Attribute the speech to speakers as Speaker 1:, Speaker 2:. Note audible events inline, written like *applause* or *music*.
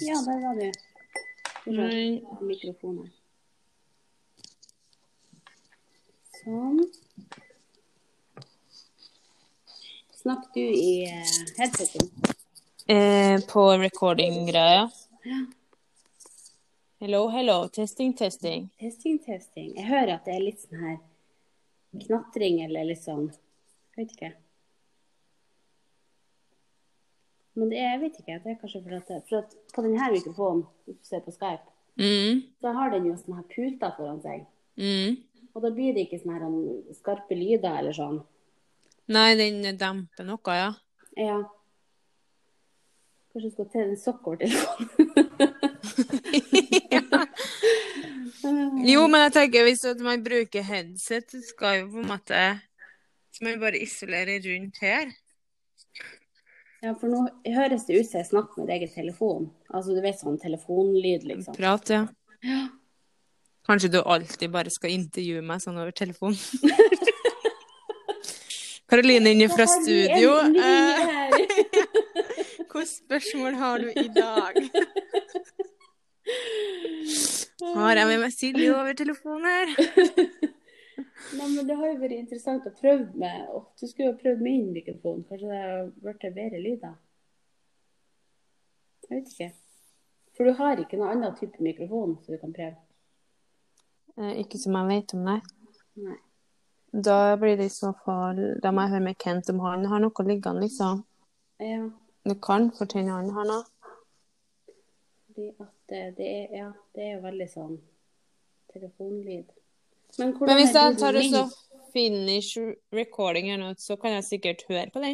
Speaker 1: Ja, der var du. Hvor
Speaker 2: Nei.
Speaker 1: er Mikrofonen. Sånn. Snakk du i eh, headseten.
Speaker 2: Eh, på recording-greia. Hello, hello. Testing, testing.
Speaker 1: Testing, testing. Jeg hører at det er litt sånn her knatring eller litt sånn Jeg vet ikke. Men det er, jeg vet ikke. Det er kanskje fordi at, det- for at på denne mikrofonen, hvis du ser på Skype,
Speaker 2: Mm.
Speaker 1: så har den jo sånne her puter foran seg.
Speaker 2: Mm.
Speaker 1: Og da blir det ikke sånne her um, skarpe lyder eller sånn.
Speaker 2: Nei, den demper noe, ja.
Speaker 1: Ja. Kanskje du skal til en
Speaker 2: *laughs*
Speaker 1: sokkortelefon.
Speaker 2: Jo, men jeg tenker hvis at man bruker headset, så skal jo på en måte Så må vi bare isolere rundt her.
Speaker 1: ja, for nå høres det ut som jeg snakker med deg i telefon. Altså du vet sånn telefonlyd, liksom.
Speaker 2: Prat, ja. Kanskje du alltid bare skal intervjue meg sånn over *laughs* telefon. Karoline inne fra studio.
Speaker 1: En
Speaker 2: Eh,
Speaker 1: ring her.
Speaker 2: Hvilke spørsmål har du i dag? *laughs* Har jeg med meg Silje over telefoner?
Speaker 1: *laughs* Nei, men det har jo vært interessant å prøve med. Åh, du skulle jo ha prøvd med inn mikrofon. Kanskje det har blitt bedre lyder. Jeg vet ikke. For du har ikke noen annen type mikrofon som du kan prøve.
Speaker 2: Eh, Ikke som jeg vet om, nei.
Speaker 1: Nei.
Speaker 2: Da blir det i så fall Da må jeg høre med Kent om han har noe liggende, liksom.
Speaker 1: Ja,
Speaker 2: Det kan fortelle han har noe.
Speaker 1: fordi at eh, det er, ja, det er jo veldig sånn telefonlyd. Men, hvordan
Speaker 2: Men hvis
Speaker 1: er
Speaker 2: jeg
Speaker 1: lyden
Speaker 2: tar og
Speaker 1: min?
Speaker 2: så finish recording her nå, så kan jeg sikkert høre på den.